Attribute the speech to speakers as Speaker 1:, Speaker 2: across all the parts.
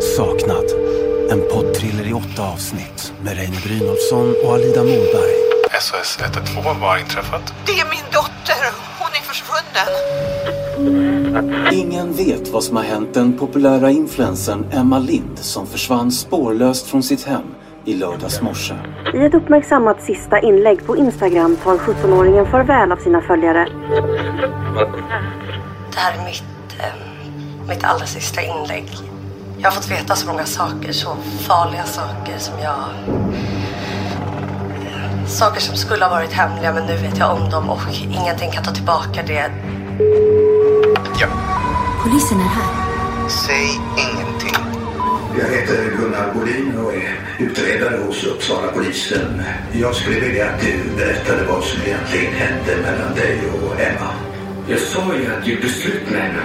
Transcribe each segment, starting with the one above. Speaker 1: saknad. En poddthriller i åtta avsnitt med Reine Brynolfsson och Alida Moberg.
Speaker 2: SOS 112, vad har inträffat?
Speaker 3: Det är min dotter. Hon är försvunnen.
Speaker 1: Ingen vet vad som har hänt den populära influensen Emma Lind som försvann spårlöst från sitt hem i lördags morse.
Speaker 4: I ett uppmärksammat sista inlägg på Instagram tar 17-åringen farväl av sina följare.
Speaker 5: Det här är mitt, eh, mitt allra sista inlägg. Jag har fått veta så många saker, så farliga saker som jag... eh, Saker som skulle ha varit hemliga men nu vet jag om dem och ingenting kan ta tillbaka det.
Speaker 6: Polisen är här.
Speaker 7: Säg ingenting.
Speaker 8: Jag heter Gunnar Bolin och är utredare hos Uppsala polisen. Jag skulle vilja att du berättade vad som egentligen hände mellan dig och Emma.
Speaker 7: Jag sa ju att du gjorde slut med henne.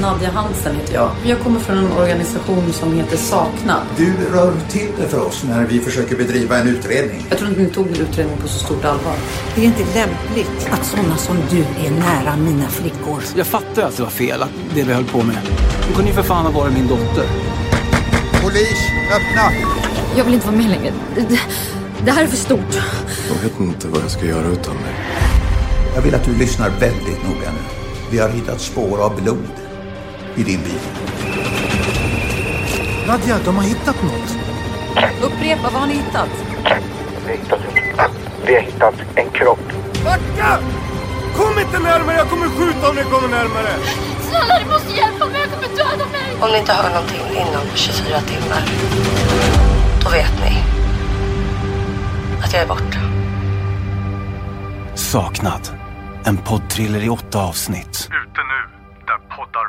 Speaker 9: Nadia Hansen heter jag. Jag kommer från en organisation som heter Saknad.
Speaker 10: Du rör till det för oss när vi försöker bedriva en utredning.
Speaker 9: Jag tror inte ni tog min utredning på så stort allvar.
Speaker 3: Det är inte lämpligt.
Speaker 6: Att sådana som du är nära mina flickor.
Speaker 1: Jag fattade att det var fel, att det vi höll på med. Hon kunde ju för fan ha varit min dotter.
Speaker 10: Polis, öppna!
Speaker 6: Jag vill inte vara med längre. Det, det här är för stort.
Speaker 2: Jag vet inte vad jag ska göra utan mig.
Speaker 10: Jag vill att du lyssnar väldigt noga nu. Vi har hittat spår av blod i din bil.
Speaker 1: Nadja, de har hittat något.
Speaker 9: Upprepa, vad har ni hittat?
Speaker 7: Vi har hittat en kropp.
Speaker 6: Snälla, du måste hjälpa mig. Jag kommer döda mig.
Speaker 5: Om ni inte hör någonting inom 24 timmar, då vet ni att jag är borta.
Speaker 1: Saknad. En poddthriller i åtta avsnitt.
Speaker 2: Ute nu, där poddar